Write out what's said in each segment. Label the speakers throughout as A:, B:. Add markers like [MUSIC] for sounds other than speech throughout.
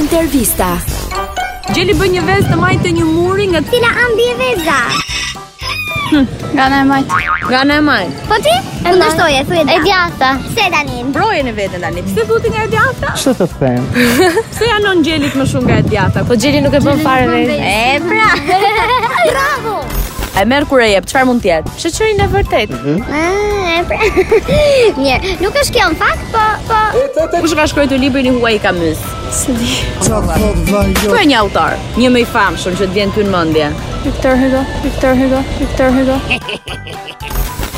A: Intervista.
B: Gjeli bën një vezë të majtë të një muri nga
C: Cila ambi e veza?
D: Gana e majtë.
B: Gana e majtë.
C: Po
D: E
C: ti? Kundërshtoj e thuj e
D: E djata.
C: Se tani.
B: Broje në vetën tani. Pse duti nga e djatha?
E: Ç'të të
B: [LAUGHS]
E: them?
B: Pse janon gjelit më shumë nga e djatha?
D: Po gjeli nuk e bën fare vetë.
B: E pra.
C: [LAUGHS] Bravo.
B: E merr kur e jep, çfarë mund të jetë?
D: Shoqërinë e vërtet.
C: Ah, e pra. [LAUGHS] Mirë, nuk është kjo në fakt, po po
B: Kush ka shkruar librin i huaj i Camus?
D: Se di.
B: Po e një autor, një më i famshëm që të vjen këtu në mendje.
D: Victor Hugo, Victor Hugo, Victor Hugo.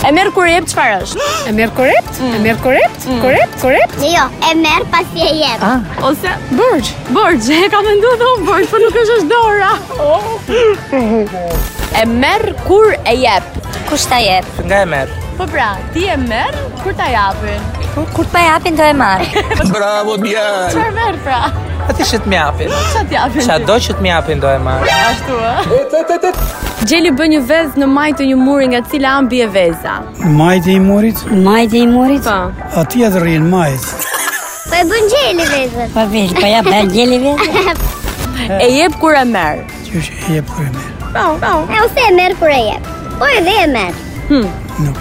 B: E merr kur e jep çfarë është? Mm.
F: E merr korrekt? E merr korrekt? Korrekt, korrekt.
C: Jo, jo, e merr pasi e jep.
B: Ose borx. Borx, e ka menduar dhe unë borx, po nuk është as dora. E merr kur e jep.
G: Kush ta jep?
E: Nga e merr.
B: Po pra, ti e merr kur ta japin.
G: Kur pa japin do e marr.
E: Bravo djalë.
B: Çfarë merr pra?
E: Atë që të më japin.
B: Çfarë t'japin?
E: Çfarë do që të më japin do e marr.
B: Ashtu ë. Gjeli bën një vezë në majtë të një muri nga cila ambi e veza.
H: Majti i murit,
G: Majti i murit?
B: Po.
H: aty atë rrinë majt.
C: Po e bën gjeli vezën.
G: Po veç, po ja bën gjeli vetë.
B: E jep kur e merr.
H: Që është e jep kur e merr.
B: Po, po.
C: E ose e merr kur e jep. Po edhe e merr.
H: Nuk.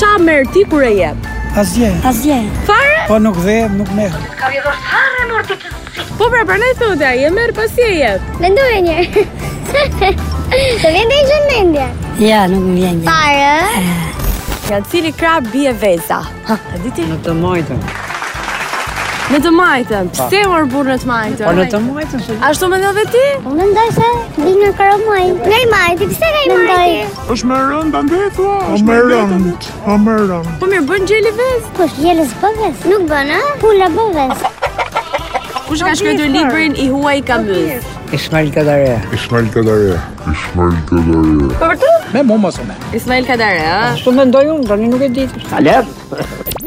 B: Ça merr ti kur e jep?
H: Asgjë.
G: Asgjë.
B: Fare?
H: Po nuk dhe, nuk merr.
B: Po pra, prandaj thotë ai, e merr pasi e jep.
C: Mendoj një herë. [LAUGHS] Të vjen dhe gjë në mendje.
G: Ja, nuk më vjen gjë.
C: Parë,
B: Nga cili krah bie veza? Ha, e di ti?
F: Në të majtën.
B: Në të majtën. Pse mor burrë në të majtën?
F: Po në të majtën. se-
B: Ashtu më ndodhe ti?
C: unë mendoj se vi nga karomaj. Nga i majti, pse nga i majti?
B: Po mirë bën gjeli vezë.
C: Kush gjelës bëves? Nuk bën, a? Pula bëves.
B: Kush ka shkruar librin i huaj i Camus?
F: Ismail Kadare.
I: İsmail Kadarı. İsmail Kadarı.
F: Me mua mos e me.
B: Ismail Kadare, a?
F: Ashtu mendoj unë, tani nuk e di. Alep.